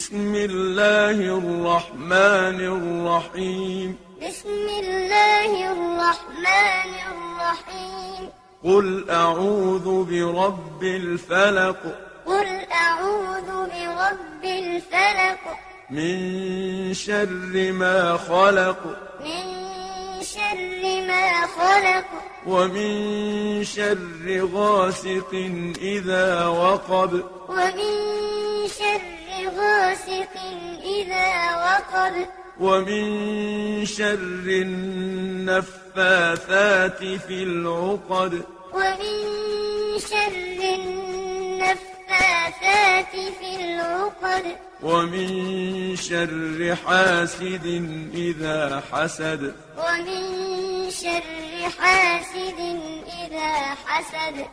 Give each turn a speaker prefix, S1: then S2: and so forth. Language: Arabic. S1: بسم الله الرحمن الرحيم
S2: بسم الله الرحمن الرحيم
S1: قل أعوذ برب الفلق
S2: قل أعوذ برب الفلق
S1: من شر ما خلق
S2: من شر ما خلق
S1: ومن شر غاسق إذا وقب
S2: ومن شر غاسق إذا وقب
S1: ومن شر النفاثات في العقد
S2: ومن شر النفاثات في العقد
S1: ومن شر حاسد إذا حسد
S2: ومن شر حاسد إذا حسد